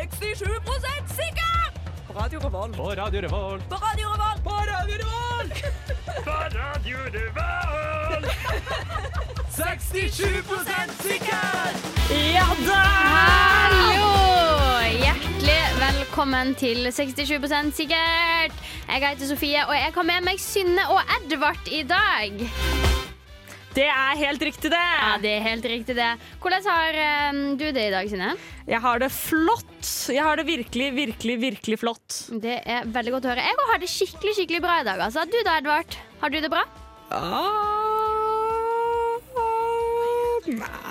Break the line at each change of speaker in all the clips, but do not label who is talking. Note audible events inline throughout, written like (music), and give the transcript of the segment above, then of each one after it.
97 sikker! På Radio Revolt.
På Radio Revolt.
På Radio Revolt. På Radio Revolt! (laughs)
67 sikker!
Ja da!
Hallo! Hjertelig velkommen til 67 sikkert. Jeg heter Sofie, og jeg har med meg Synne og Edvard i dag.
Det er helt riktig,
Ja,
det.
det er helt riktig, det. Hvordan har eh, du det i dag, Synne?
Jeg har det flott. Jeg har det virkelig, virkelig, virkelig flott.
Det er veldig godt å høre. Jeg også har det skikkelig skikkelig bra i dag. altså. Du da, Edvard? Har du det bra?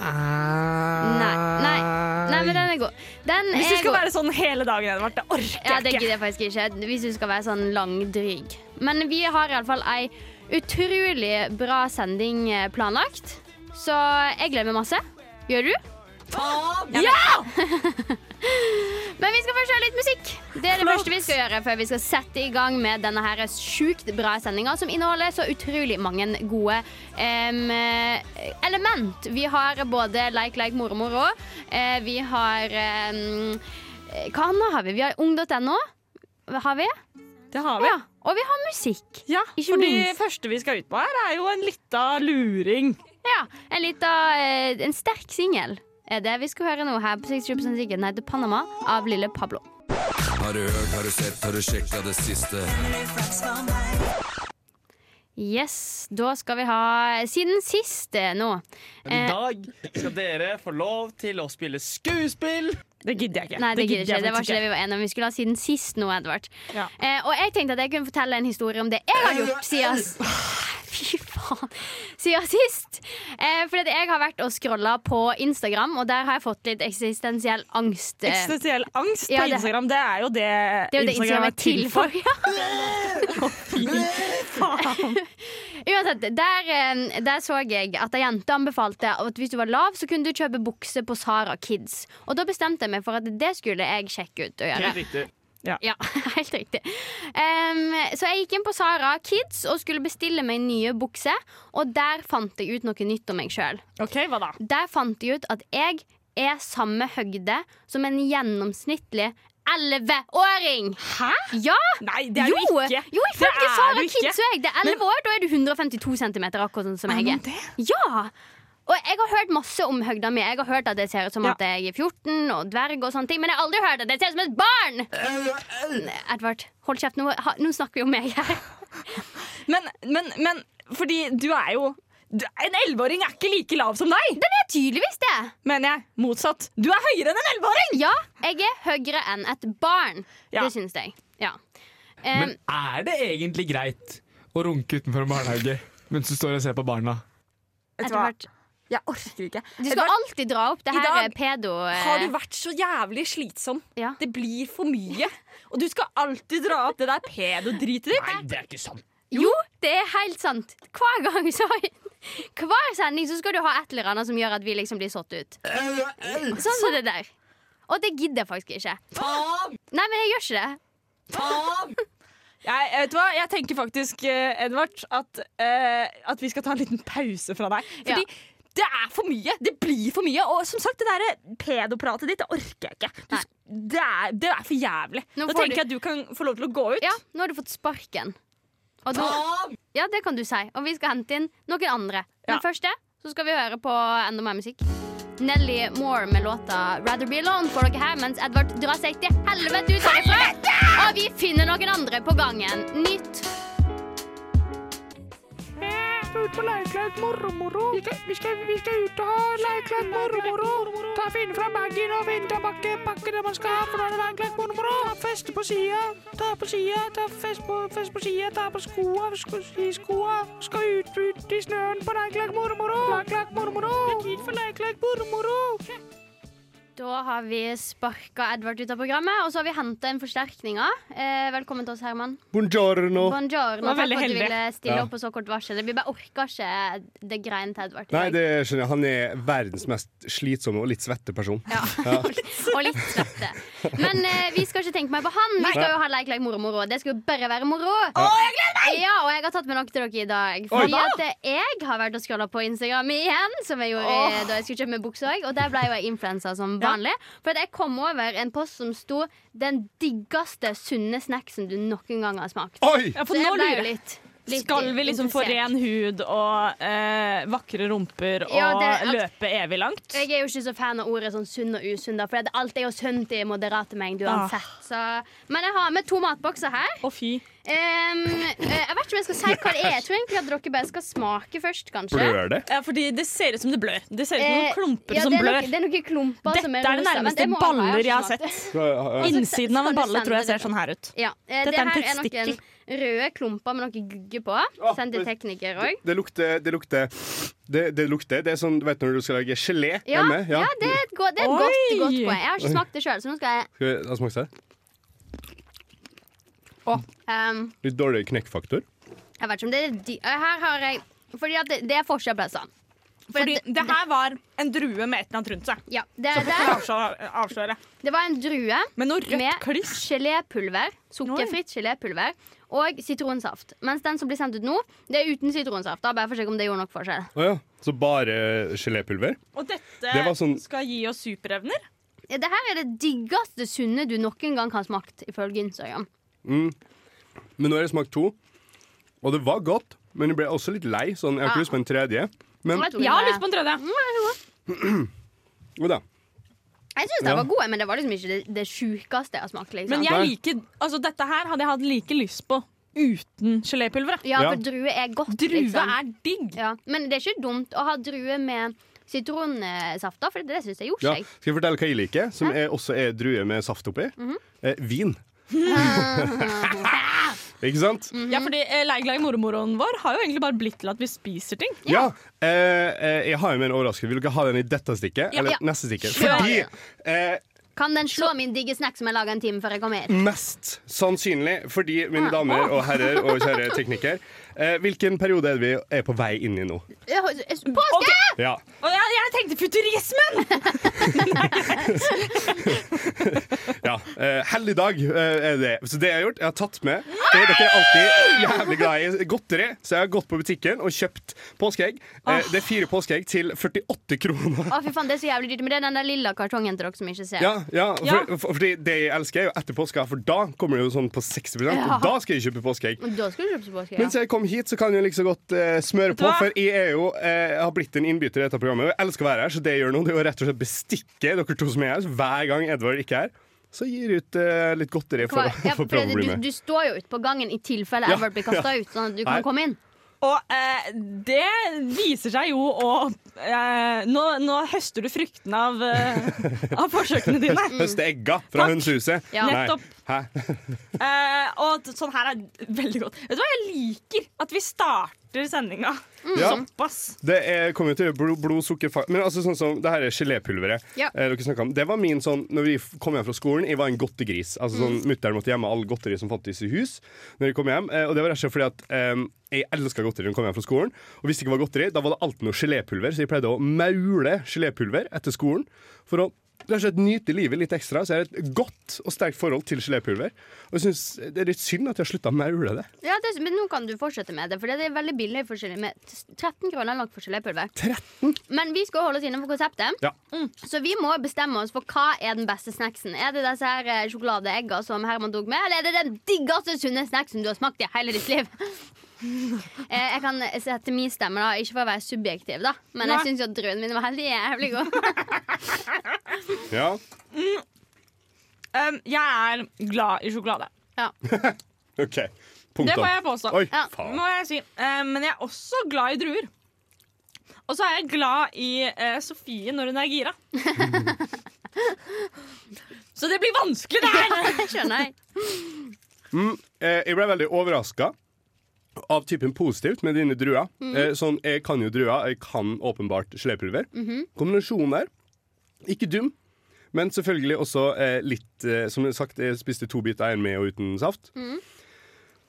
Nei. Nei, Nei men den er god. Den
Hvis du
er
skal
god.
være sånn hele dagen, Edvard, det
Ja,
orker
det
jeg ikke.
gidder jeg faktisk ikke. Hvis du skal være sånn langdryg. Men vi har iallfall ei utrolig bra sending eh, planlagt. Så jeg gleder meg masse. Gjør du?
Ja!
Men vi skal først høre litt musikk. Det er det
Flott.
første vi skal gjøre før vi skal sette i gang med denne her sjukt bra sendinga, som inneholder så utrolig mange gode em, eh, element. Vi har både Leik, leik, moro, moro. Eh, vi har em, eh, Hva annet har vi? Vi har ung.no. Har vi?
Det har vi.
Ja. Og vi har musikk.
Ja,
Ikke
for det
minst.
første vi skal ut på her, er jo en lita luring.
Ja, en lita eh, En sterk singel er det vi skal høre nå her på 60% sikker. Den heter Panama av Lille Pablo.
Har du hørt, har du sett, har du sjekka det siste?
Yes, da skal vi ha siden sist eh, nå.
Men i dag skal dere få lov til å spille skuespill.
Det gidder jeg ikke.
Nei, det gidder ikke.
jeg
Det var
faktisk
ikke det vi var enige om. Vi skulle ha siden sist nå, Edvard.
Ja.
Eh, og jeg tenkte at jeg kunne fortelle en historie om det jeg har gjort siden (laughs) Fy faen. Siden sist. Eh, fordi at jeg har vært og scrolla på Instagram, og der har jeg fått litt eksistensiell angst. eh,
Eksistensiell angst på
Ja, det-
Instagram, det er jo det,
Det er jo det Instagram er til for. Ja.
Faen.
Uansett, der, eh, der så jeg at ei jente anbefalte at hvis du var lav, så kunne du kjøpe bukse på Sara Kids. Og da bestemte jeg meg for at det skulle jeg sjekke ut og gjøre.
Helt riktig.
Ja, (laughs) helt riktig. Em, så jeg gikk inn på Sara Kids og skulle bestille meg nye bukser. Og der fant jeg ut noe nytt om meg sjøl.
OK, hva da?
Der fant jeg ut at jeg er samme høgde som en gjennomsnittlig 11-åring. Hæ? Ja!
Nei, det er du ikke.
Jo, ifølge
er
Sara
du ikke.
Kids er jeg det. 11 år, da er du 152 cm, akkurat sånn som
Er
jeg
man
er.
det?
Ja! Og jeg har hørt masse om høgda mi. Jeg har hørt at det ser ut som
Ja.
at jeg er 14 og dverg og sånne ting, men jeg har aldri hørt at det ser ut som et barn! Edvard, hold kjeft. Nå, ha, nå snakker vi om meg her.
Men, men, men fordi du er jo du, En 11-åring er ikke like lav som deg,
Det er tydeligvis det.
mener jeg. Motsatt. Du er høyere enn en 11-åring!
Ja, jeg er høyere enn et barn.
Ja.
Det syns jeg. Ja. Eh,
Men er det egentlig greit å runke utenfor en barnehage mens du står og ser på barna?
Vet du hva?
Edvard,
Jeg orker ikke.
du skal
Edvard,
alltid dra opp det
I
her
dag
pedo... eh,
har du vært så jævlig slitsom?
ja.
Det blir for mye. Og du skal alltid dra opp det der pedodritet ditt.
Nei, det er ikke sant.
Jo, det er helt sant. Hver gang så Hver sending så skal du ha et eller annet som gjør at vi liksom blir sått ut. Sånn som det der. Og det gidder jeg faktisk ikke. Nei, men jeg gjør ikke det.
Jeg, eh, vet du hva? jeg tenker faktisk, eh, Edvard, at, eh, at vi skal ta en liten pause fra deg. Fordi det er for mye. Det blir for mye. Og som sagt, det der eh, pedopratet ditt det orker jeg ikke. Du,
Nei.
det, er, det er for jævlig.
Nå
da
får
tenker jeg at du kan få lov til å gå ut.
Ja, nå har du fått sparken. Og nå, ja, det kan du si. Og vi skal hente inn noen andre. Men
Ja.
først det, så skal vi høre på enda mer musikk. Nelly Moore med låta 'Rather Be Alone' får dere her, mens Edvard drar seg til helvete ut herfra. Og vi finner noen andre på gangen. Nytt. Da har vi sparka Edvard ut av programmet, og så har vi henta inn forsterkninger. Eh, velkommen til oss, Herman.
Buongiorno.
Buongiorno.
var
Takk for
veldig
at du
heldig.
ville stille
Ja.
opp på så kort varsel. Vi bare orker ikke det greiene til Edvard. i
Nei,
dag.
det skjønner jeg. Han er verdens mest slitsomme og litt svette person.
(laughs) Ja. og litt svette. Men eh, vi skal ikke tenke mer på han. Vi skal jo ha Leik, leik, moro, moro. Det skal jo bare være moro. Ja, og jeg har tatt med noe til dere i dag. Fordi
hva?
at eh, jeg har vært og scrolla på Instagram igjen, som jeg gjorde eh, da jeg skulle kjøpe meg bukse òg. Og der ble jo jeg influensa som
Ja,
vanlig. For at jeg kom over en post som sto 'Den diggeste sunne snacksen du noen gang har smakt'.
Oi!
Ja, for
Så jeg
nå
ble jo
lurer jeg.
litt, litt
Skal vi liksom få ren
interessert.
hud og eh, vakre rumper og
Ja, det-
løpe evig langt?
Jeg er jo ikke så fan av ordet sånn sunn og usunn, da, for det- alt er jo sunt i moderate mengder
Ah.
uansett. Så. Men jeg har med to matbokser her.
Å, fy.
Ehm, eh, jeg vet ikke om jeg skal si hva det er. Jeg tror egentlig at dere bare skal smake først, kanskje.
Blør det?
Ja, fordi det ser ut som det blør. Det ser ut som
Eh,
noen klumper
ja,
som
det er
blør.
nok- det er noen klumper
Dette
som er
er det
rosa, men
nærmeste
det må sånn jeg ha, jeg har
baller jeg
ikke
har
smakt det.
sett.
Ja,
Innsiden av en
Skal du
balle tror jeg
sende
ser sånn her ut.
Ja, eh,
Dette
det
er en
her er noen
testikkel.
røde klumper med noe gugge på.
Å,
Send til tekniker òg.
Det lukter Det lukter Det, det lukter Det er sånn du vet når du skal lage gelé
Ja,
hjemme?
ja, det er et, godt, det er et
Oi!
godt, godt poeng. Jeg har ikke smakt det sjøl, så nå skal jeg
Skal vi la oss smake det?
ehm,
Litt dårlig knekkfaktor.
Jeg vet ikke om det er de, eh, Her har jeg Fordi at det, det er forskjell på disse. For
Fordi
at det-
det her var en drue med et eller annet rundt seg.
Ja, det, er
Det
det,
avslører- avslører jeg.
det var en drue
Med noe rødt
med
kliss.
gelépulver. Sukkerfritt gelépulver. Og sitronsaft. Mens den som blir sendt ut nå, det er uten sitronsaft. Da, bare for å sjekke om det gjorde nok forskjell.
Å ja. Så bare gelépulver?
Og dette
Det var sånn-
skal gi oss superevner.
Ja, Det her er det diggeste sunne du noen gang har smakt, ifølge Instagram.
Men nå har jeg smakt to, og det var godt. Men jeg ble også litt lei. Sånn, jeg har
Ja.
ikke lyst på en tredje. Men
Jeg tror
Jeg har
det- Mm.
lyst på en tredje.
jo da.
Jeg syns de
Ja.
var gode, men det var liksom ikke det, det sjukeste jeg har smakt. Liksom.
Men jeg liker, altså dette her hadde jeg hatt like lyst på uten gelépulveret.
ja, for
Ja.
drue er godt.
Drue
liksom.
er digg.
ja. Men det er ikke dumt å ha drue med sitronsaft, da, for det syns jeg gjorde
Ja.
seg.
Skal jeg fortelle hva jeg liker, som er, også er drue med saft oppi?
Mhm.
eh, vin.
Ah.
(laughs) ikke sant?
Ja, fordi eh, Leiglag mormoren vår har jo egentlig bare blitt til at vi spiser ting.
Ja. Eh, eh, jeg har jo med en overraskelse. Vil dere ha den i dette stikket?
Ja.
Eller
Ja.
neste stikket?
Kjør.
Fordi eh,
Kan den slå min digge snack som jeg laga en time før jeg kom hit?
Mest sannsynlig, fordi mine damer og herrer og kjære tekniker eh, Hvilken periode er det vi er på vei inn i nå?
Ja, Påske!
Ok,
Ja.
og jeg, jeg tenkte futurismen!
ja. Eh, helligdag eh, er det. Så det jeg har gjort, jeg har tatt med eh, Dere er alltid jævlig glad i godteri, så jeg har gått på butikken og kjøpt påskeegg. Eh, det er fire påskeegg til 48 kroner.
Å, fy faen, det er så jævlig dyrt. Men det er den der lilla kartongen til dere som ikke ser.
Ja, ja, for,
Ja.
for, fordi det jeg elsker, er jo etter påska, for da kommer det jo sånn på 60 og da skal jeg kjøpe påskeegg.
Men da skal du kjøpe påske.
Mens jeg kom hit, så kan jeg like så godt eh, smøre på,
hva?
for jeg er jo eh, jeg har blitt en innbytter i dette programmet. Og jeg elsker å være her, så det jeg gjør nå, det er jo rett og slett bestikke dere to som er her. Så hver gang Edvard ikke er her, så gir jeg ut eh, litt godteri for,
Hva- ja,
for
for
å prøve å
det-
bli
du,
med.
du står jo ute på gangen i tilfelle
Ja,
Edvard blir kasta ut, sånn at du
Nei.
kan komme inn.
Og eh, det viser seg jo å eh, nå, nå høster du frukten av, eh, av forsøkene dine.
Høste egga fra
Takk.
hønsehuset.
Ja.
Nei.
Nettopp.
Hæ?
Eh, og at sånn her er veldig godt. Vet du hva, jeg liker at vi starter sendinga
Ja.
såpass.
Det er, kommer jo til å gjøre blod, blod, sukker fa- Men altså sånn som det her er gelépulveret
Ja.
eh, dere snakket om. Det var min sånn Når vi f- kom hjem fra skolen, jeg var en godtegris. Altså sånn Mutter'n måtte gjemme all godteri som fantes i hus. Når jeg kom hjem eh, Og det var rett og slett fordi at eh, jeg elska godteri når jeg kom hjem fra skolen. Og hvis det ikke var godteri, da var det alltid noe gelépulver, så jeg pleide å maule gelépulver etter skolen. For å rett og slett nyte livet litt ekstra. Så jeg har et godt og sterkt forhold til gelépulver. Og jeg synes eh, det er litt synd at jeg har slutta å maule det.
Ja, det, men nå kan du fortsette med det, for det er veldig billig forskjellig med t- 13 kroner nok forskjellig pulver.
13?
Men vi skal holde oss innenfor konseptet,
Ja.
så vi må bestemme oss for hva er den beste snacksen. Er det disse her eh, sjokoladeegga som Herman tok med, eller er det den diggeste sunne snacksen du har smakt i hele ditt liv?
(laughs)
Eh, Jeg kan sette min stemme, da ikke for å være subjektiv, da men jeg
Nei.
syns jo at druene mine var helt jævlig
(laughs)
gode.
ja.
Um, jeg er glad i sjokolade.
OK.
Det
Punktum.
må jeg påstå.
Oi,
Ja.
faen.
Må jeg si. Eh, men jeg er også glad i druer. Og så er jeg glad i eh, Sofie når hun er gira. så det blir vanskelig, det her!
Det skjønner jeg.
Eh, jeg ble veldig overraska av typen positivt med dine druer.
Mhm.
Eh, sånn, jeg kan jo druer, jeg kan åpenbart gelépulver.
Mhm.
Kombinasjonen der, ikke dum. Men selvfølgelig også eh, litt eh, Som jeg har sagt, jeg spiste to biter, en med og uten saft.
Mhm.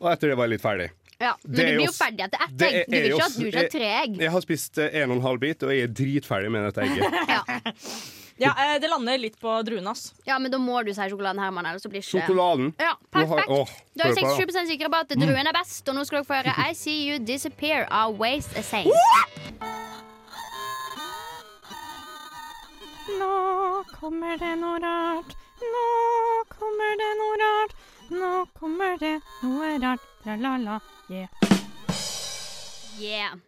Og etter det var jeg litt ferdig.
Ja. Men
Det er
du blir
jo
jo
s-
ferdig etter ett
det
egg. Du
er
vil
jo
ikke
s-
ha- du vil ikke ha tre egg.
Jeg har spist eh, en og en halv bit, og jeg er dritferdig med dette egget.
(laughs) Ja.
Ja, eh, det lander litt på druene, ass.
ja, men da må du si sjokoladen, Herman, ellers så blir ikke
Sjokoladen.
Ja,
Nå har-
Eh, perfekt.
åh,
Da er
hør på
jeg
det.
67 sikre på at druen er best, og nå skal dere få
(laughs)
høre I See You Disappear Our Ways A Saint.
La,
kommer det noe rart. Nå kommer det noe rart. Nå kommer det noe rart. Tra-la-la.
Yeah.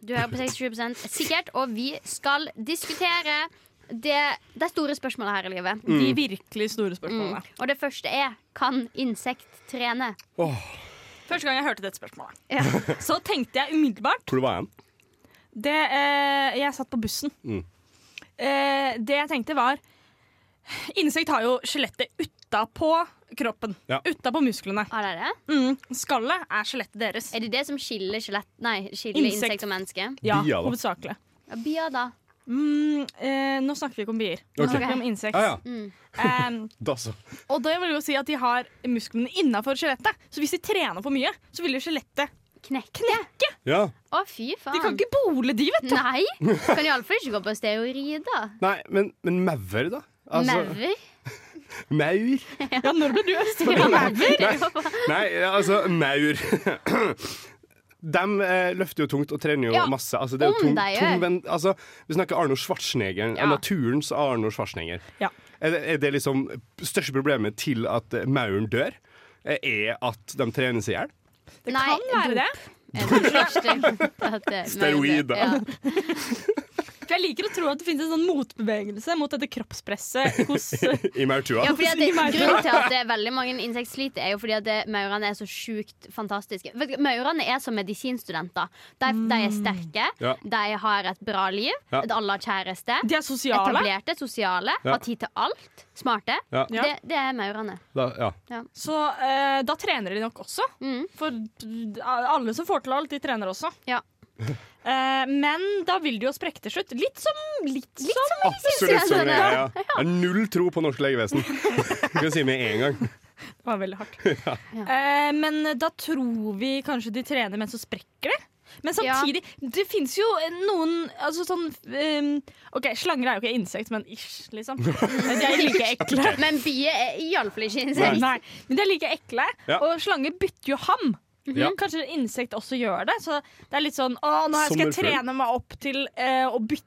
Du hører på 67 sikkert, og vi skal diskutere det, det store spørsmålet her i livet.
De virkelig store
Mm.
spørsmålene.
Og det første er kan insekt trene?
Første gang jeg hørte dette spørsmålet, (laughs)
Ja.
så tenkte jeg umiddelbart
Hvor det var jeg?
det, eh, Jeg satt på bussen.
Mm.
Eh, det jeg tenkte, var Insekt har jo skjelettet utapå kroppen.
Ja.
Utapå musklene.
Ah, det er, det?
Mm. Skallet er skjelettet deres.
er det det som skiller skjelett Nei, skiller
Insekt.
insekt, og menneske?
Ja,
Bia, da.
hovedsakelig.
Ja, bier, da.
Mm, eh, nå snakker vi ikke om bier. Nå
Ok.
snakker vi om insekt.
Ah, ja.
Mm.
Em,
Da så.
og det vil jo si at de har musklene innafor skjelettet. Så hvis de trener for mye, så vil jo skjelettet
Knekke?
Ja.
Å, fy faen.
De kan ikke bole de, vet du!
Nei! Kan iallfall ikke gå på steroider.
Nei, men, men maur, da?
Altså-
Altså,
Maur.
Maur?
Ja, når ble du
(laughs) Ja,
østlig?
maur.
Nei, altså, maur De eh, løfter jo tungt og trener jo
Ja,
masse. Altså, det er
om
jo tung,
de gjør.
tung, men, altså, vi snakker Arno Schwarzenegger,
Ja.
naturens Arno Schwarzenegger.
Ja.
Er, det- er det liksom største problemet til at eh, mauren dør? eh, Er at de trener seg i hjel?
Det
Nei,
kan være
dop.
det.
Er det største at det-
Steroider.
Ja.
For jeg liker å tro at det finnes en sånn motbevegelse mot dette kroppspresset hos
I maurtua?
Ja, fordi at
Si
det,
meg det.
grunnen til at det er veldig mange insekter sliter, er jo fordi at det- maurene er så sjukt fantastiske. Vet du, Maurene er som medisinstudenter. De, de er
Mm.
sterke,
Ja.
de har et bra liv,
Ja.
et alle har kjæreste.
De er sosiale.
Etablerte, sosiale,
Ja.
har tid til alt. Smarte.
Ja.
Ja.
Det, det er maurene.
Da, ja.
Så eh, da trener de nok også.
Mm.
For eh, alle som får til alt, de trener også.
Ja.
Eh, men da vil de jo sprekke til slutt. Litt som Litt, som
Absolutt sånn
det.
greie. Ja. Jeg har null tro på norsk legevesen. Det kan jeg si med en gang.
Det var veldig hardt. Eh, men da tror vi kanskje de trener, men så sprekker det. Men samtidig, det fins jo noen altså sånn eh, OK, slanger er jo ikke insekt, men ish, liksom. De er jo like ekle.
Men bier er iallfall ikke
(laughs)
Nei.
insekter.
Men de er like ekle,
Ja. Mhm.
og slanger bytter jo ham.
Ja.
Kanskje insekt også gjør det. Så det er litt sånn Å, nå skal jeg
Sommerfugl.
trene meg opp til eh, å bytte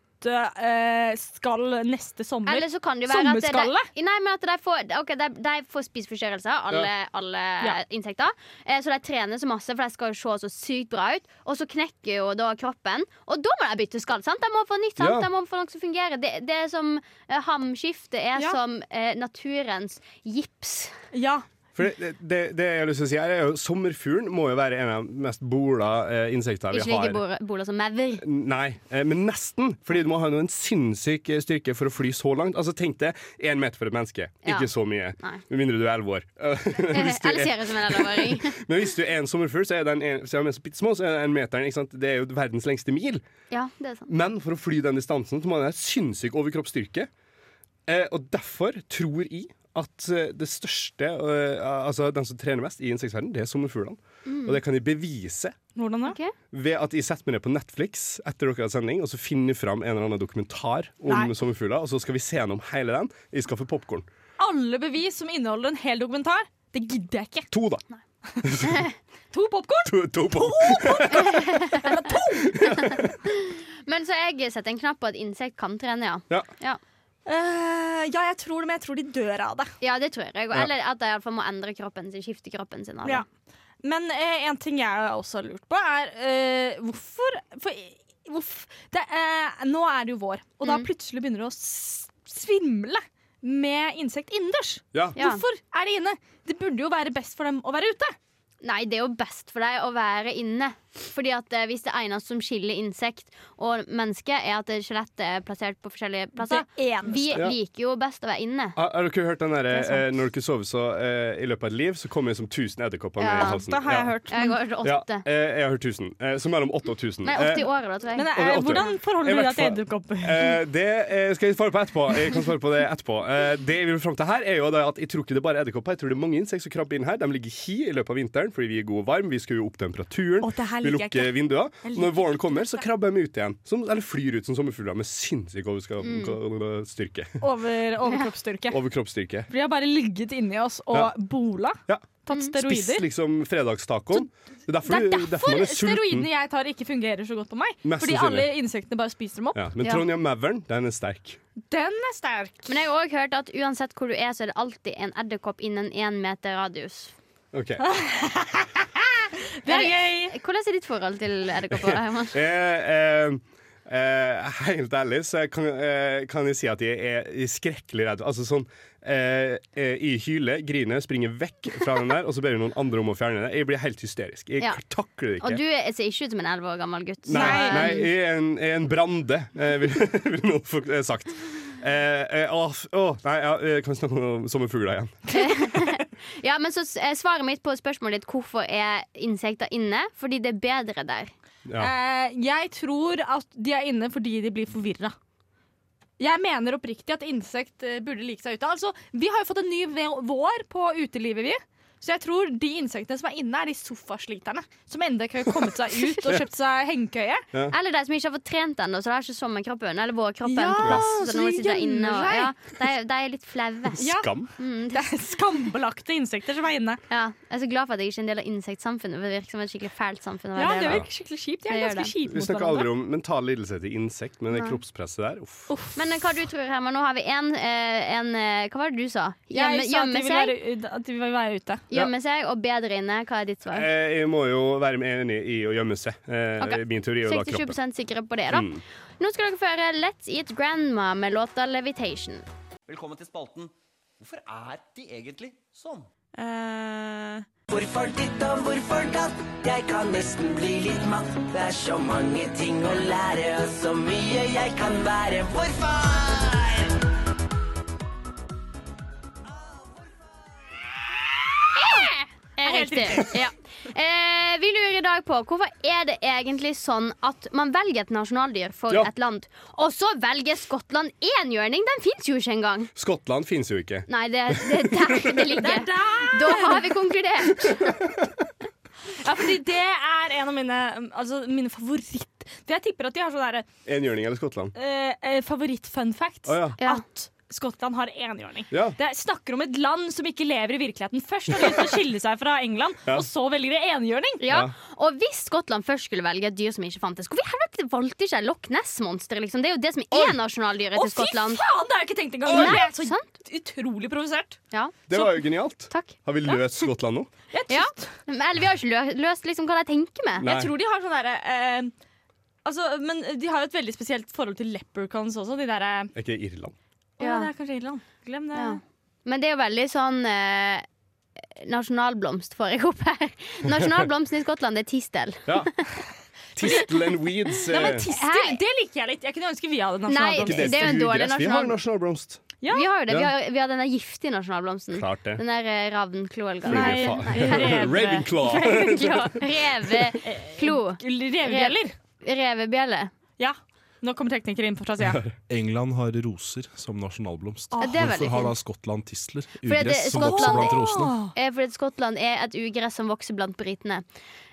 eh, skall neste sommer.
Eller så kan det jo være at
Sommerskalle?
de, nei, men at de får, ok, de, de får spiseforstyrrelser, alle, alle
Ja.
insekter. Eh, så de trener så masse, for de skal jo se så sykt bra ut. Og så knekker jo da kroppen. Og da må de bytte skall. sant? De må få nytt. sant?
Ja.
De må få noe som fungerer. Det, det er som eh, hamskifte er
Ja.
som eh, naturens gips.
Ja.
For det, det, det jeg har lyst til å si her er jo Sommerfuglen må jo være en av de mest bola eh, insektene vi
Ikke like
har.
bola- bola som maur.
(laughs) Nei, eh, men nesten. Fordi du må ha en sinnssyk eh, styrke for å fly så langt. Altså Tenk deg én meter for et menneske.
Ja.
Ikke så mye.
Nei.
Med mindre du er elleve år. (laughs)
Eller
Hvis du er-
ser ut som en elleveåring.
men hvis du er en sommerfugl, så er den en, så er den så bittesmå, så er den en meteren. Ikke sant? Det er jo verdens lengste mil.
ja, det er sant.
Men for å fly den distansen så må den ha sinnssyk overkroppsstyrke. Eh, og derfor tror jeg at eh, det største, eh, altså den som trener mest i insektverdenen, det er sommerfuglene.
Mm.
Og det kan de bevise
Hvordan da?
Ok.
ved at jeg setter meg ned på Netflix etter dere har sending, og så finner jeg fram en eller annen dokumentar om
Nei.
sommerfugler, og så skal vi se gjennom hele den. Jeg skal få popkorn.
Alle bevis som inneholder en hel dokumentar, det gidder jeg ikke.
To, da.
To popkorn!
To, to pop-
Men så jeg setter en knapp på at insekt kan trene, ja.
Ja.
ja.
Eh, ja, jeg tror det, men jeg tror de dør av det.
Ja, det tror jeg.
Ja.
Eller at de iallfall må endre kroppen sin. Skifte kroppen sin. av det.
Ja. Men eh, en ting jeg også har lurt på, er eh, hvorfor For hvorf, det, er- Nå er det jo vår, og da
Mm.
plutselig begynner det å s- svimle med insekt innendørs.
Ja.
Ja.
Hvorfor er de inne? Det burde jo være best for dem å være ute.
Nei, det er jo best for deg å være inne. Fordi at eh, Hvis det eneste som skiller insekt og menneske, er at eh, skjelettet er plassert på forskjellige plasser
Det eneste.
altså, Vi
Ja.
liker jo best å være inne.
Har, har dere hørt den derre
Det er sant.
eh, 'når du ikke sover så eh, i løpet av et liv, så kommer det som 1000 edderkopper
Ja,
ned i halsen'?
Det har jeg hørt.
Jeg går
Ja,
åtte.
eh, jeg har hørt 1000. Eh, så mellom 8 og 1000.
Nei, åtte i året, da, tror jeg.
Men
Og det
eh,
er åtte.
hvordan forholder
I
du
hvert
deg til
fall-
edderkopper?
Eh, det eh, skal jeg svare på etterpå. Jeg kan svare på Det etterpå eh, Det jeg vil fram til her er jo det at jeg tror ikke det er bare edderkopper. Jeg tror det er mange insekter som krabber inn her. De ligger i hi i løpet av vinteren fordi vi er gode og varme. Vi skrur opp temperaturen.
Å, det her
vi
liker jeg
lukker vinduer.
Jeg
Og
liker
når våren kommer, så krabber de ut igjen. Som, eller flyr ut som sommerfugler med sinnssyk overska-
Mm.
styrke.
(laughs) Over overkroppsstyrke.
Overkroppsstyrke.
For de har bare ligget inni oss og
Ja.
bola.
Ja.
Tatt
Mm.
Spist
steroider.
liksom fredagstacoen. Det er
Det
derfor,
er
du- derfor man
derfor
er sulten.
steroidene jeg tar, ikke fungerer så godt på meg.
Mest
Fordi
sannsynlig.
alle insektene bare spiser dem opp.
Ja, men
Ja.
Trondheim Mavern, den er sterk.
Den er sterk.
Men jeg har òg hørt at uansett hvor du er, så er det alltid en edderkopp innen én meter radius.
Ok.
Det er gøy.
Hvordan er ditt forhold til edderkopper? Herman?
Eh, eh, eh, helt ærlig så kan, eh, kan jeg si at jeg er skrekkelig redd. Altså sånn eh, eh, Jeg hyler, griner, springer vekk fra den der, og så ber jeg noen andre om å fjerne det. Jeg blir helt hysterisk. Jeg
Ja.
takler det ikke.
Og du er- ser ikke ut som en elleve år gammel gutt.
Nei,
Nei.
nei jeg, er en, jeg er en brande, eh, vil, (laughs) vil noen få eh, sagt. Eh, eh, åh, f- åh, nei, ja, eh, kan vi snakke om sommerfugler igjen?
Ja, men så s- eh, Svaret mitt på spørsmålet ditt hvorfor er insekter inne, fordi det er bedre der.
Ja.
Eh, jeg tror at de er inne fordi de blir forvirra. Jeg mener oppriktig at insekt eh, burde like seg ute. Altså, Vi har jo fått en ny ve- vår på utelivet, vi. Så jeg tror de insektene som er inne, er de sofasliterne. Som ennå ikke har kommet (laughs) seg ut og kjøpt seg hengekøye.
Eller de som ikke har fått trent ennå, så de har ikke sommerkroppen eller vårkroppen
Ja,
på plass. Så,
så
nå
de
sitter de inne
gjemmer
og,
seg.
ja, de, er- de er litt flaue. Ja.
Ja.
Skam?
Det er skambelagte insekter som er inne.
Jeg er så glad for at jeg ikke er en del av insektsamfunnet. For det virker som et skikkelig fælt samfunn. å være
Ja,
del
Det
av.
virker skikkelig kjipt. De
Det
er
gjør
ganske kjipe
Vi
mot
snakker aldri
hverandre.
om mental lidelse til insekt, men det kroppspresset der uff.
Men eh, hva du tror, Herman? Nå har vi en, eh, en eh, Hva var det du sa?
Jeg sa at
Gjemme,
de
gjemme
vil
seg,
være- at de vil være ute.
gjemme seg og bedre inne. Hva er ditt svar?
Eh, Jeg må jo være med enig i å gjemme seg. Eh,
Ok.
Min teori er jo da kroppen. Mm.
67 sikre på det, da. Nå skal dere få høre Let's Eat Grandma med låta 'Levitation'.
Velkommen til spalten Hvorfor er de egentlig sånn?
Eh,
Hvorfor ditt og hvorfor datt? Jeg kan nesten bli litt matt. Det er så mange ting å lære, og så mye jeg kan være. Hvorfor?
Er riktig. Ja. Eh, vi lurer i dag på hvorfor er det egentlig sånn at man velger et nasjonaldyr for
Ja.
et land, og så velger Skottland enhjørning? Den fins jo ikke engang!
Skottland fins jo ikke.
Nei, det, det er der det ligger. Da har vi konkludert.
Ja, fordi det er en av mine, altså, mine favoritt... For jeg tipper at de har sånn derre
Enhjørning eller Skottland?
eh, eh, favoritt-fun facts.
Å, ja.
Ja.
At Skottland har enhjørning.
Ja.
Det er- snakker om et land som ikke lever i virkeligheten. Først har de lyst til å skille seg fra England, og så velger de enhjørning.
Ja. Og hvis Skottland først skulle velge et dyr som ikke fantes, hvorfor i helvete valgte de ikke Loch Ness-monsteret? Liksom? Det er jo det som er nasjonaldyret
Å,
til
fy faen!
Skottland.
Det har jeg ikke tenkt engang!
Nei,
Jeg ble så
sant?
utrolig provosert.
Ja,
Det var jo genialt.
takk.
Har vi løst Skottland nå?
Jeg,
Ja.
synes-
Men, Eller vi har ikke lø- løst liksom, hva de tenker med.
jeg tror de har sånn derre eh, Altså, men de har jo et veldig spesielt forhold til leprechauns også. De derre
Er ikke det Irland?
Å,
Ja.
det er kanskje Irland. Glem det.
Ja. Men det er jo veldig sånn eh, Nasjonalblomst får jeg opp her. Nasjonalblomsten i Skottland det er tistel.
(laughs) Ja. Tistel and weeds.
Nei, men
eh,
tister, det liker jeg litt. Jeg kunne ønske vi hadde
Nei,
nasjonalblomst.
ikke
det er jo en dårlig
stuegress. Vi har
nasjonal-
nasjonalblomst.
Ja.
Vi har jo det. Vi
Ja.
har, vi har den der giftige nasjonalblomsten.
Klart det.
Den der eh, ravnkloelga.
Nei. (laughs) Reve-
Ravenclaw.
Reveklo.
Revebjeller.
Revebjelle.
Ja. Nå kommer teknikere inn fra sida.
England har roser som nasjonalblomst.
Ja, det er veldig
Hvorfor har da
fint.
Skottland tisler?
Fordi det-
Ugress som vokser
Skottland-
blant rosene.
Eh, Fordi Skottland er et ugress som vokser blant britene.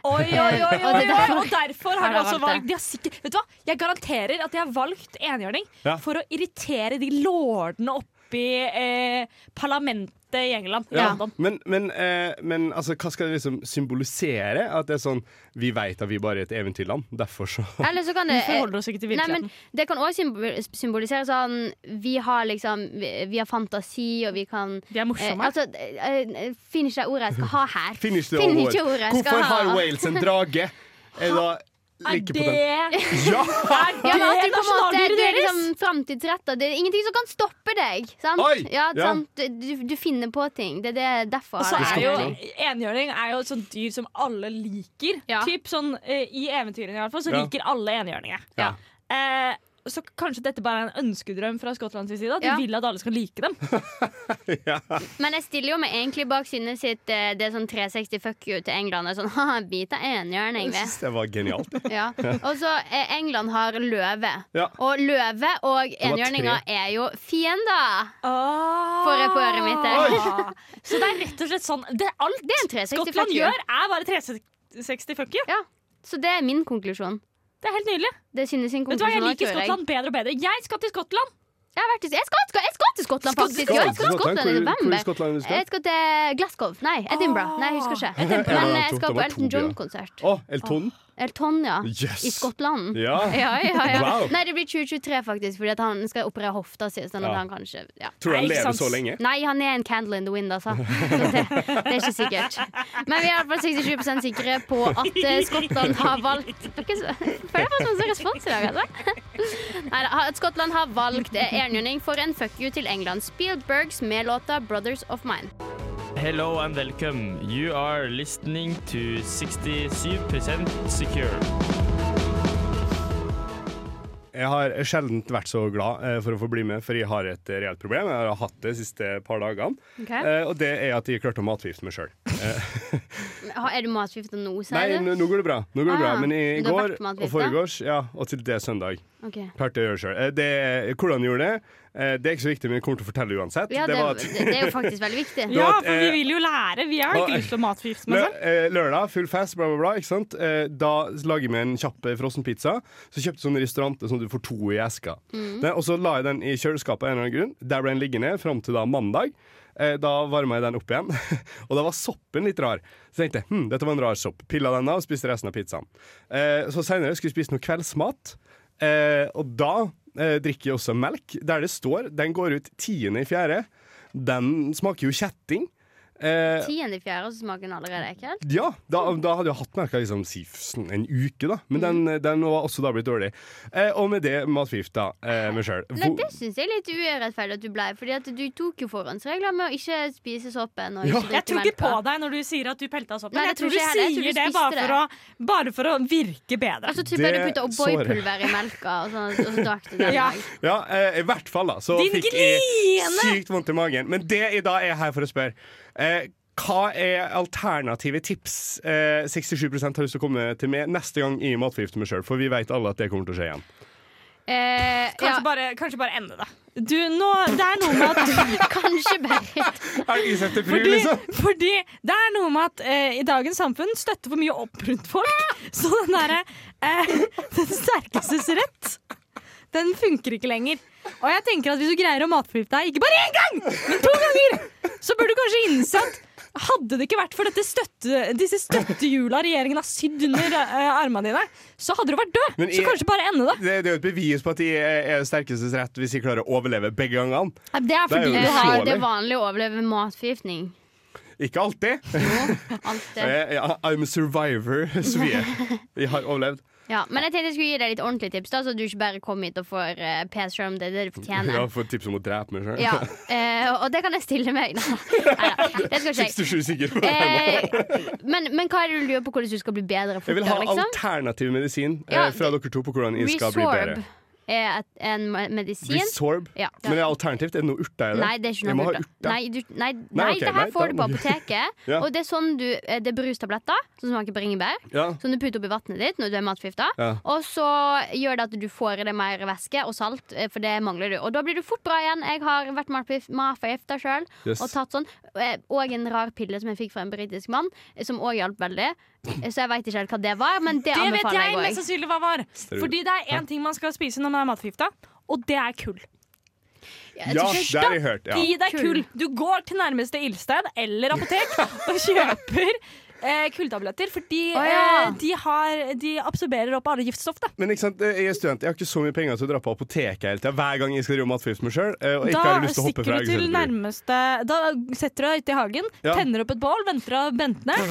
Oi, oi, oi, oi,
Og det er
oi,
derfor-
Og derfor har
Har
de
de
også
valgt det.
valgt de har sikkert, Vet du hva? Jeg garanterer at de har valgt enhjørning
Ja.
for å irritere de lordene oppi eh, parlamentet i England. I
Ja.
London.
Men, men, eh, men altså, hva skal det liksom symbolisere? At det er sånn Vi veit at vi bare er et eventyrland, derfor så (laughs)
Eller så kan det
Vi forholder oss ikke til
Nei,
virkeligheten.
men det kan òg symbolisere sånn Vi har liksom Vi, vi har fantasi, og vi kan
de er
eh,
morsomme.
Altså, eh, eh, finner ikke det ordet jeg skal ha her.
Finner ikke det
Finner
over.
ikke ordet jeg skal
Hvorfor har
ha.
Wales en drage? Er det da
er
like
det,
potent? Ja!
Ja, men at
det
du på en måte,
nasjonaldyret
du er
deres?
liksom framtidsretta. Det er ingenting som kan stoppe deg. Sant?
Oi!
Ja,
Ja.
sant? Du, du finner på ting. Det er det, derfor.
Og så
har
er
jeg
jo
det.
enhjørning er jo et sånt dyr som alle liker.
Ja.
Typ sånn eh, I eventyrene i hvert fall, så
Ja.
liker alle enhjørninger.
Ja.
Eh, så kanskje dette bare er en ønskedrøm fra Skottlands side? At de
Ja.
vil at alle skal like
(laughs)
dem?
Men jeg stiller jo meg egentlig bak synet sitt eh, det er sånn 360 fuck you til England. Det er Sånn, (laughs) haha, bit av enhjørning,
Jeg
vi.
(laughs)
syns det var genialt.
(laughs) Ja. Og så eh, England har løve.
Ja.
Og løve og
var
enhjørninger er jo fiender.
Får
Får jeg på øret mitt der?
Så det er rett og slett sånn det, Alt
Det er en 360
Skottland
fuck you.
gjør, er bare 360 fuck you.
Ja. Så det er min konklusjon.
Det er helt nydelig.
Det synes sin
Vet du hva,
konklusjon
Jeg
også,
liker
tror jeg.
Skottland bedre og bedre. Jeg skal til Skottland!
Jeg, har vært i, jeg, skal, jeg skal til Skottland, faktisk! Ja, jeg skal til Skottland i
Hvor, hvor i
november.
Skottland er du
Jeg
skal?
skal til Glasgow. Nei, Edinburgh. Nei, jeg husker
(laughs)
ikke.
Edinburgh. Ja,
Men eh,
det var
jeg
to-
skal
det
på
var to
Elton
byer.
John-konsert.
Å, Elton?
Elton, ja.
Yes.
I Skottland.
Ja.
(laughs) ja, ja, ja.
Wow.
Nei, det blir 2023, faktisk, fordi at han skal operere hofta si. Sånn at
Ja.
han kanskje ja.
Tror du
Nei,
han
ikke
lever
sant.
så lenge?
Nei, han er en candle in the wind, altså. Så det, det er ikke sikkert. Men vi er iallfall 67 sikre på at eh, Skottland har valgt Dere s- føler jeg faktisk noen sånn respons i dag, altså. Neida, at Skottland har valgt eh, enhjørning for en fuck you til England. Spielbergs med låta 'Brothers of Mine'.
Hello and welcome. You are listening to 67% secure.
Jeg har sjelden vært så glad eh, for å få bli med, for jeg har et eh, reelt problem. Jeg har hatt det de siste par dagene.
Ok.
Eh, og det er at jeg klarte å matforgifte meg sjøl.
Ha- Er du matforgifta nå,
Nei,
sier du?
nå nå går det bra. Nå går det
Ah,
bra.
ja.
Men i
Men du har
går
vært matforgifta?
og foregårs, ja, og til det søndag,
Ok.
klarte jeg å gjøre sjøl. Hvordan jeg gjorde det, eh, det er ikke så viktig, men jeg kommer til å fortelle uansett.
Ja, det,
var at-
det, det er jo faktisk veldig viktig.
(laughs) Det var at,
for vi
eh,
vil jo lære. Vi har jo
og-
ikke lyst til å matforgifte
Lø
med oss.
eh, lørdag, full fest, bla, bla, bla. Ikke sant? Eh, da lager vi en kjapp eh, frossen pizza. Så kjøpte jeg sånne restauranter som du får to i eska.
Mm.
Den- Og så la jeg den i kjøleskapet av en eller annen grunn. Der ble den liggende fram til da mandag. Eh, da varma jeg den opp igjen, (laughs) og da var soppen litt rar. Så tenkte jeg hm, dette var en rar sopp. Pilla den av og spiste resten av pizzaen. Eh, så seinere skulle jeg spise noe kveldsmat, eh, og da eh, drikker jeg også melk. Der det står Den går ut tiende i fjerde. Den smaker jo kjetting. Eh,
Tiende i fjerde, og så smaker den allerede ekkel?
ja, da, da hadde jeg hatt merka liksom, si, sånn en uke, da. Men den, den var også da blitt dårlig. Eh, og med det matforgifta eh, meg sjøl.
Nei, det syns jeg er litt urettferdig at du ble, Fordi at du tok jo forhåndsregler med å ikke spise soppen. Og
Ja.
ikke
Jeg
drikke
tror ikke på
melka.
deg når du sier at du pelta oss opp.
Nei,
men
det
jeg tror du
tror ikke jeg heller. Jeg
sier
tror du Altså,
det bare
spiste
for, å, bare for å virke bedre.
Og så tipper jeg du
Det
putta
sårer.
O'boy-pulver i melka, og så, og så drakk du den.
Ja.
dag.
Ja, eh, i hvert fall, da. Så
Din
fikk jeg
gline!
sykt vondt i magen. Men det jeg da er her for å spørre. Eh, hva er alternative tips eh, 67 har lyst til å komme til meg neste gang i matforgifter meg sjøl? For vi veit alle at det kommer til å skje igjen.
Eh,
Kanskje, bare, kanskje bare ende det. Du, nå, det er noe med (laughs) at
Kanskje bare
Er det ikke liksom? til
Fordi, fordi det er noe med at eh, i dagens samfunn støtter for mye opp rundt (laughs) folk. Så den derre eh, (laughs) Den sterkestes rett, den funker ikke lenger. Og jeg tenker at hvis du greier å matforgifte deg, ikke bare én gang, men to ganger, så bør du kanskje innse at hadde det ikke vært for dette støtte, disse støttehjula regjeringen har sydd under eh, armene dine, så hadde du vært død.
Men jeg-
så kanskje bare ende det.
Det, det er jo et bevis på at de er er sterkestes rett hvis de klarer å overleve begge gangene.
Nei, Det er
Det er
fordi
jo
du
Eh,
har
uslåelig.
Det er vanlig å overleve matforgiftning.
Ikke alltid.
Alt det.
Eh, ja, I'm a survivor, (laughs) Sofie. Vi har
(laughs)
overlevd.
Ja, men jeg tenkte jeg skulle gi deg litt ordentlig tips, da, så du ikke bare kom hit og får uh, PS selv om det er det du
Jeg har
fortjener.
fått tips om å drepe meg sjøl. (laughs)
Ja, eh, og det kan jeg stille meg. (laughs) Neida, det skal ikke jeg.
67 sikker på det.
Eh,
(laughs)
men, men hva er det du lurer på hvordan du skal bli bedre
Jeg vil ha
fortere? Liksom?
alternativ medisin eh,
Ja,
fra dere to på hvordan jeg skal bli
Resorb
bedre.
er et, en me- medisin.
Resorb?
Ja.
Men er alternativt? Er det noe urter i det?
Nei, det er ikke
Jeg
noe
må ha
urter.
urter.
Nei, du, nei, nei,
ok,
det
nei,
her får
da-
du på apoteket.
(laughs) Ja.
Og det er sånn du eh, Det er brustabletter sånn som smaker bringebær,
Ja.
som du putter oppi vannet ditt når du er matforgifta.
Ja.
Og så gjør det at du får i deg mer væske og salt, eh, for det mangler du. Og da blir du fort bra igjen. Jeg har vært matforgift- matforgifta sjøl
Yes.
og tatt sånn. Eh, Og en rar pille som jeg fikk fra en britisk mann, eh, som òg hjalp veldig. Eh, Så jeg veit ikke helt hva det var, men det,
Det vet
anbefaler
jeg
jeg
mest
òg.
sannsynlig hva var. Fordi det er én ting man skal spise når man er matforgifta, og det er kull.
Ja, det har jeg hørt. Ja.
Gi deg kull. Du går til nærmeste ildsted eller apotek og kjøper eh, kulltabletter, fordi
Å, ja.
eh, de, har, de absorberer opp alle giftstoff. Da.
Men ikke sant, eh, jeg er student, jeg har ikke så mye penger til å dra på apoteket hele tida hver gang jeg skal drive matforgift meg sjøl. Og ikke
Da
har jeg lyst til å hoppe fra
stikker du til
Egersund.
nærmeste Da setter du deg ute i hagen,
Ja.
tenner opp et bål, venter av bentene
(laughs)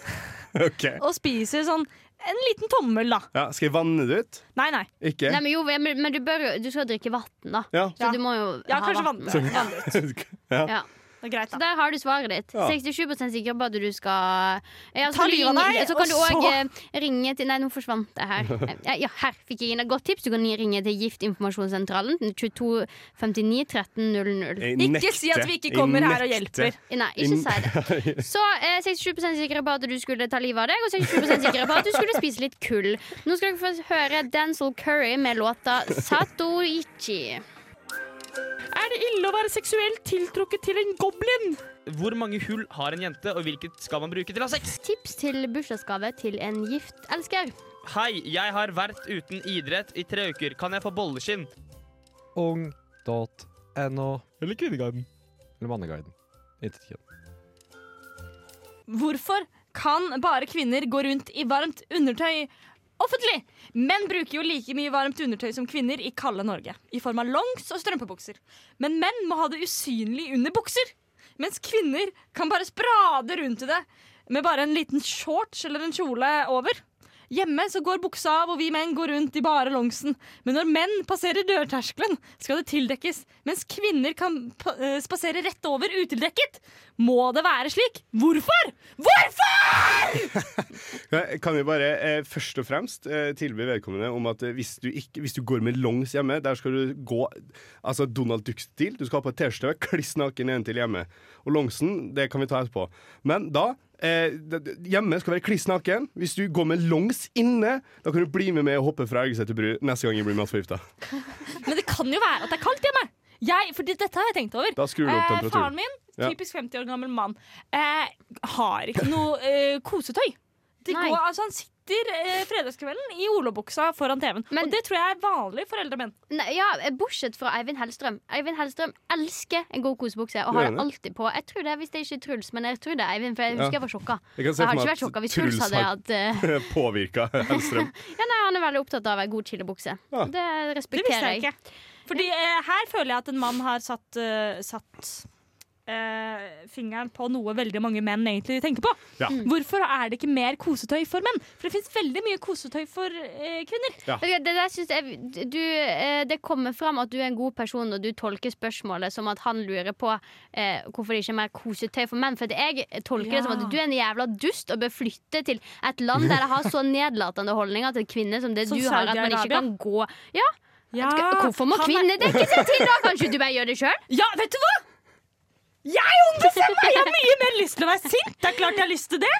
(laughs) Ok.
og spiser sånn en liten tommel, da.
Ja, skal jeg vanne det ut?
Nei, nei.
Ikke?
Nei, men, jo, men, men du, bør, jo- du skal drikke vann, da.
Ja. (laughs)
Så du må jo
Ja,
ha
kanskje
vann.
vann. Vann ut.
ja.
Ja.
Det er greit,
Så
da.
der har du svaret ditt.
Ja.
67 sikker på at du skal ja,
Ta
så kan du
livet av
ringe-
deg,
Så
og
kan du
så-
òg ringe til Nei, nå forsvant det her. Ja, ja, her fikk jeg inn et godt tips. Du kan ringe til Giftinformasjonssentralen. 22 59 13 00.
Jeg
Ikke si at
nekter.
vi ikke
Jeg
kommer her og
nekter.
hjelper.
Nei, ikke si det.
(laughs)
Så eh, 67 sikre på at du skulle ta livet av deg, og 67 sikre på at du skulle spise litt kull. Nå skal dere få høre Denzil Curry med låta Satoichi.
Er det ille å være seksuelt tiltrukket til en goblin?
Hvor mange hull har en jente, og hvilket skal man bruke til å ha sex?
Tips til bursdagsgave til en gift elsker.
Hei, jeg har vært uten idrett i tre uker. Kan jeg få bolleskinn?
Onkel kvinneguiden.no. Eller Kvinneguiden. Eller Manneguiden. Intet kjønn.
Hvorfor kan bare kvinner gå rundt i varmt undertøy offentlig? Menn bruker jo like mye varmt undertøy som kvinner i kalde Norge. I form av longs og strømpebukser. Men menn må ha det usynlig under bukser. Mens kvinner kan bare sprade rundt i det med bare en liten shorts eller en kjole over. Hjemme så går buksa av, og vi menn går rundt i bare longsen. Men når menn passerer dørterskelen, skal det tildekkes. Mens kvinner kan pa- eh, spasere rett over utildekket. Må det være slik? Hvorfor? Hvorfor?!
Kan vi bare eh, først og fremst eh, tilby vedkommende om at eh, hvis, du ikke, hvis du går med longs hjemme, der skal du gå altså Donald Duck-stil. Du skal ha på et T-skjorte, kliss naken nedentil hjemme. Og longsen, det kan vi ta etterpå. Men da eh, d- d- Hjemme skal være kliss naken. Hvis du går med longs inne, da kan du bli med meg og hoppe fra Elgeseter bru neste gang jeg blir matforgifta.
Men det kan jo være at det er kaldt hjemme. Jeg, fordi dette har jeg tenkt over.
Da skrur du opp
Eh,
temperaturen.
faren min,
Ja.
typisk 50 år gammel mann, eh, har ikke noe eh, kosetøy. Det
Nei.
går, altså, han sitter eh, fredagskvelden i olabuksa foran TV-en. Og det tror jeg er vanlig for eldre menn.
Nei, ja, Bortsett fra Eivind Hellstrøm. Eivind Hellstrøm elsker en god kosebukse og
Gjør
har
han
det
det?
alltid på. Jeg tror det er hvis det ikke er Truls, men jeg tror det er Eivind, for jeg
Ja.
husker jeg var sjokka.
Jeg kan se
har
for
ikke
meg
vært sjokka
at
hvis Truls
Truls
hadde
har-
hatt eh,
(laughs) Påvirka Hellstrøm.
Ja, nei, Han er veldig opptatt av ei god chillebukse.
Ja.
Det
Det visste
respekterer
jeg ikke. Fordi eh, her føler jeg at en mann har satt, eh, satt eh, fingeren på noe veldig mange menn egentlig tenker på.
Ja. Mm.
Hvorfor er det ikke mer kosetøy for menn? For det fins veldig mye kosetøy for eh, kvinner.
Vet du hva, Det, der synes jeg, du, eh, det kommer fram at du er en god person og du tolker spørsmålet som at han lurer på eh, hvorfor det ikke er mer kosetøy for menn. For at jeg tolker det som at
Ja.
du er en jævla dust og bør flytte til et land der det har
(laughs)
så nedlatende holdninger til kvinner som det
Som
du har, at man ikke
Saudi-Arabia.
kan gå Ja,
Ja,
Hvorfor må
han er-
kvinner dekke seg til, da? Kanskje du bare gjør det
(laughs)
sjøl?
Ja, vet du hva? Jeg ombestemmer meg! Jeg har mye mer lyst til å være sint. Det er klart jeg har lyst til det.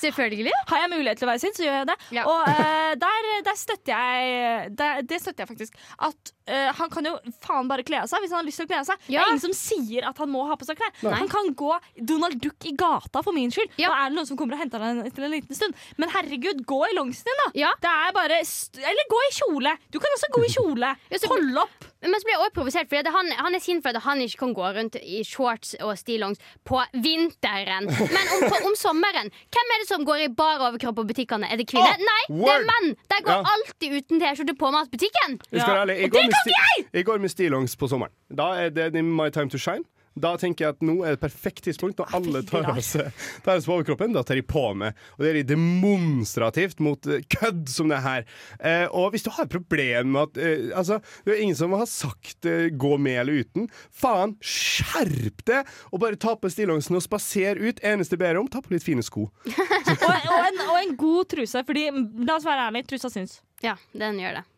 Selvfølgelig.
Har jeg mulighet til å være sint, så gjør jeg det. Og eh, der, der støtter jeg der, Det støtter jeg faktisk. At eh, han kan jo faen bare kle av seg hvis han har lyst til å kle av seg. Det
Ja.
er ingen som sier at han må ha på seg klær.
Nei.
Han kan gå Donald Duck i gata for min skyld. Da er det noen som kommer og henter han etter en liten stund. Men herregud, gå i longsen din, da. Det er bare st Eller gå i kjole. Du kan også gå i kjole.
(laughs)
Hold opp.
Men så blir jeg også provosert, fordi at han, han er sint for at han ikke kan gå rundt i shorts og stillongs på vinteren. Men om, på, om sommeren, hvem er det som går i bar overkropp på butikkene? Er det kvinner?
Ah,
Nei, det er
word!
menn! De går
Ja.
alltid uten T-skjorte på matbutikken.
Jeg skal være ærlig,
Og
jeg
det
går med
kan
sti-
ikke jeg!
Jeg går med stillongs på sommeren. Da er det the- my time to shine. Da tenker jeg at nå er det perfekt tidspunkt når alle tar av seg tar av seg på overkroppen. Da tar de på meg. Og det er demonstrativt mot eh, kødd som det her. Eh, og hvis du har et problem med at eh, Altså, det er ingen som har sagt eh, 'gå med eller uten'. Faen, skjerp deg! Og bare ta på stillongsen og spaser ut. Eneste jeg ber om, ta på litt fine sko.
og, og, en, og en god truse. Fordi, mm, la oss være ærlige, trusa syns.
Ja, den gjør det.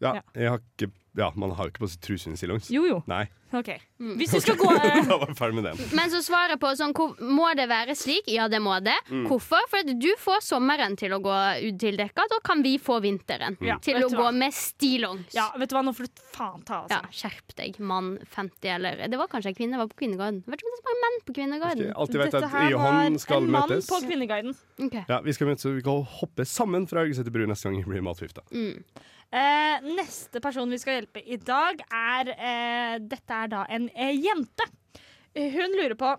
Ja, jeg har ikke Ja, man har jo ikke på seg truse under stillongs.
Jo, jo.
Nei. (laughs)
Ok.
Mm.
Hvis du skal
(laughs)
gå eh,
da var jeg ferdig med den.
Men så svaret på sånn, hvor, må det være slik? Ja, det må det.
Mm.
Hvorfor? For at du får sommeren til å gå utildekka, da kan vi få vinteren
Mm. Ja,
til
vet
å
du
gå
hva?
med stillongs.
Ja, vet du hva, nå får du faen ta av
Ja, skjerp deg, mann 50 eller Det var kanskje en kvinne, det var på Kvinneguiden. Det var ikke så mange menn på Kvinneguiden.
Skal jeg alltid vite at Dette her Johan var skal en mann møtes? på
Kvinneguiden.
Ok.
Ja, vi skal møtes, og vi kan hoppe sammen fra Ørgeseter bru neste gang vi blir matforgifta.
Eh, neste person vi skal hjelpe i dag, er eh, Dette er da en eh, jente. Hun lurer på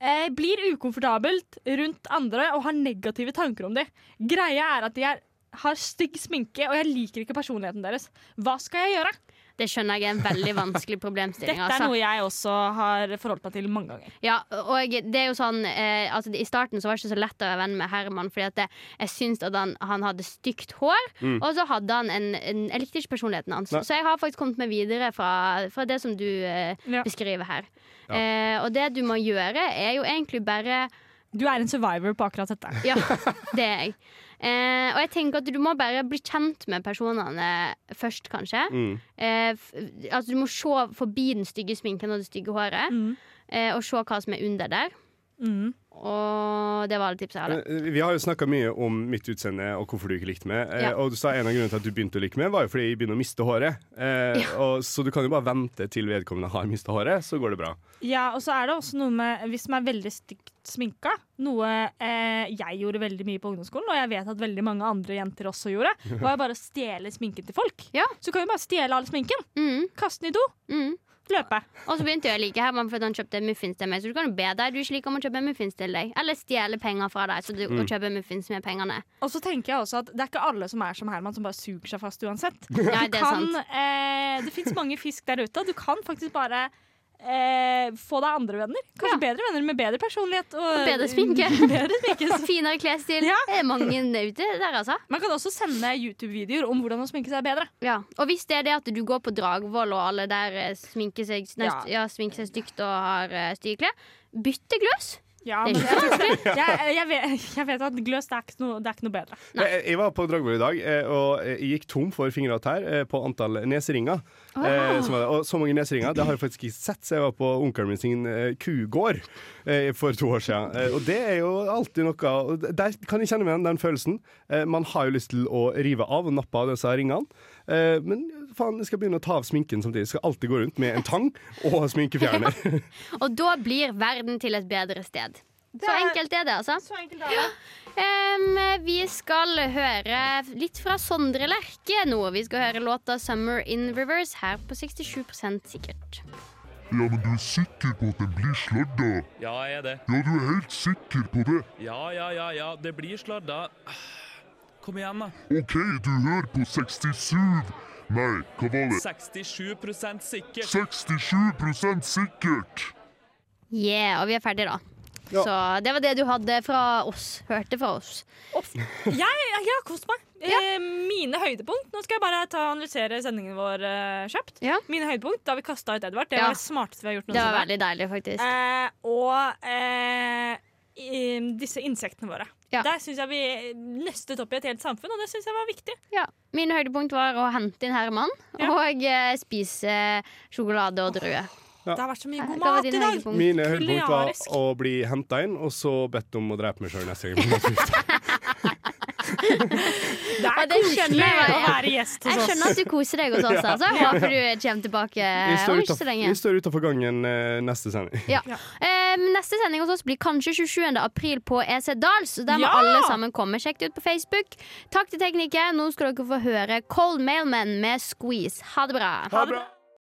eh, Blir ukomfortabelt rundt andre og har negative tanker om dem. Greia er at de er, har stygg sminke, og jeg liker ikke personligheten deres. Hva skal jeg gjøre?
Det skjønner jeg er en veldig vanskelig problemstilling.
Dette er
altså.
noe jeg også har forholdt meg til mange ganger.
Ja, og det er jo sånn eh, altså, I starten så var det ikke så lett å være venn med Herman, fordi at det, jeg syntes at han, han hadde stygt hår.
Mm.
Og så hadde han en, en Jeg likte ikke personligheten hans.
Nei.
Så jeg har faktisk kommet meg videre fra, fra det som du eh, beskriver her. Eh, og det du må gjøre, er jo egentlig bare
Du er en survivor på akkurat dette.
Ja, det er jeg. Eh, og jeg tenker at du må bare bli kjent med personene først, kanskje.
Mm.
Eh, f altså, du må se forbi den stygge sminken og det stygge håret, eh, og se hva som er under der.
Mm.
Og det var alle tipsa jeg hadde.
Eh, Vi har jo snakka mye om mitt utseende og hvorfor du ikke likte meg. Eh,
Ja.
Og du sa en av grunnene til at du begynte å like meg, var jo fordi jeg begynner å miste håret. Eh, og, så du kan jo bare vente til vedkommende har mista håret, så går det bra.
Ja, og så er det også noe med hvis man er veldig stygt sminka, noe eh, jeg gjorde veldig mye på ungdomsskolen, og jeg vet at veldig mange andre jenter også
(laughs)
gjorde, var jo bare å stjele sminken til folk. Så du kan jo bare stjele all sminken. Kaste den i do. Løpe.
Mm, Og så begynte jeg å like Herman fordi han kjøpte muffins til meg. Så du kan jo be deg du ikke liker om å kjøpe muffins til deg. Eller stjele penger fra deg, så du kan
Mm.
kjøpe muffins med pengene.
Og så tenker jeg også at det er ikke alle som er som Herman, som bare suger seg fast uansett. Du
Nei, (laughs) det er
kan, (laughs)
sant.
eh, det fins mange fisk der ute, og du kan faktisk bare eh, få deg andre venner. Kanskje bedre venner med bedre personlighet. Og,
Og bedre sminke.
(laughs) bedre sminke.
Finere klesstil. Det er mange ute der, altså.
Man kan også sende YouTube-videoer om hvordan å sminke seg bedre.
Ja, Og hvis det er det at du går på Dragvoll og alle der eh, sminker seg, nei,
Ja.
st- ja, sminker seg stygt og har uh, styreklær, bytte gløss.
Ja,
Det er
men
ikke
jeg, jeg, jeg, vet, (laughs) jeg vet at gløs det er ikke noe, det er ikke noe bedre.
Jeg, jeg var på Dragvoll i dag, eh, og jeg gikk tom for fingre og tær eh, på antall neseringer.
Ah.
Eh, som var det. Og så mange neseringer det har jeg faktisk ikke sett siden jeg var på onkelen min sin eh, kugård eh, for to år siden. Eh, og det er jo alltid noe og Der kan jeg kjenne meg igjen den følelsen. Eh, man har jo lyst til å rive av og nappe av disse ringene. Eh, men faen, jeg skal begynne å ta av sminken samtidig. Jeg skal alltid gå rundt med en tang og sminkefjerner.
Og da blir verden til et bedre sted. så enkelt er det, altså. Ja. Em, vi skal høre litt fra Sondre Lerche nå. Vi skal høre låta 'Summer in Reverse' her på 67 sikkert.
Ja, men du er sikker på at den blir sladda?
Ja, jeg er det.
Ja, du er helt sikker på det?
Ja, ja, ja, ja. Det blir sladda. Kom igjen, da.
OK, du hører på 67 Nei, hva var det?
67 sikkert.
67 sikkert!
Yeah, og vi er ferdige da. Så det var det du hadde fra oss. Hørte fra oss.
Jeg, jeg har kost meg. Eh, mine høydepunkt Nå skal jeg bare ta og analysere sendingen vår eh, kjapt. Mine høydepunkt da vi kasta ut Edvard. Det
Ja.
var det smarteste vi har gjort
Det var
noensinne.
veldig deilig, faktisk.
Eh, og eh, i- disse insektene våre. Der syns jeg vi nøstet opp i et helt samfunn, og det syns jeg var viktig.
Ja. Min høydepunkt var å hente inn Herman og eh, spise sjokolade og druer.
Ja.
Det har vært så mye
Hva
god
var
mat
din
i dag.
høydepunkt?
Mine høydepunkt var
Kulinarisk.
å bli henta inn, og så bedt om å drepe meg sjøl neste gang.
Det er
Og det
koselig
skjønner jeg.
å være gjest hos
Jeg
oss.
skjønner at du koser deg hos oss. Altså. Jeg
(laughs) Ja.
håper du kommer tilbake
Vi
om
står
ikke Eh, så
utaf-
lenge.
vi står utafor gangen eh, neste sending.
Ja. Ehm, neste sending hos oss blir kanskje 27. april på EC Dals. og Der må
Ja!
alle sammen komme. Sjekk det ut på Facebook. Takk til teknikere. Nå skal dere få høre Cold Mailman med Squeeze. Ha det bra.
Ha det bra.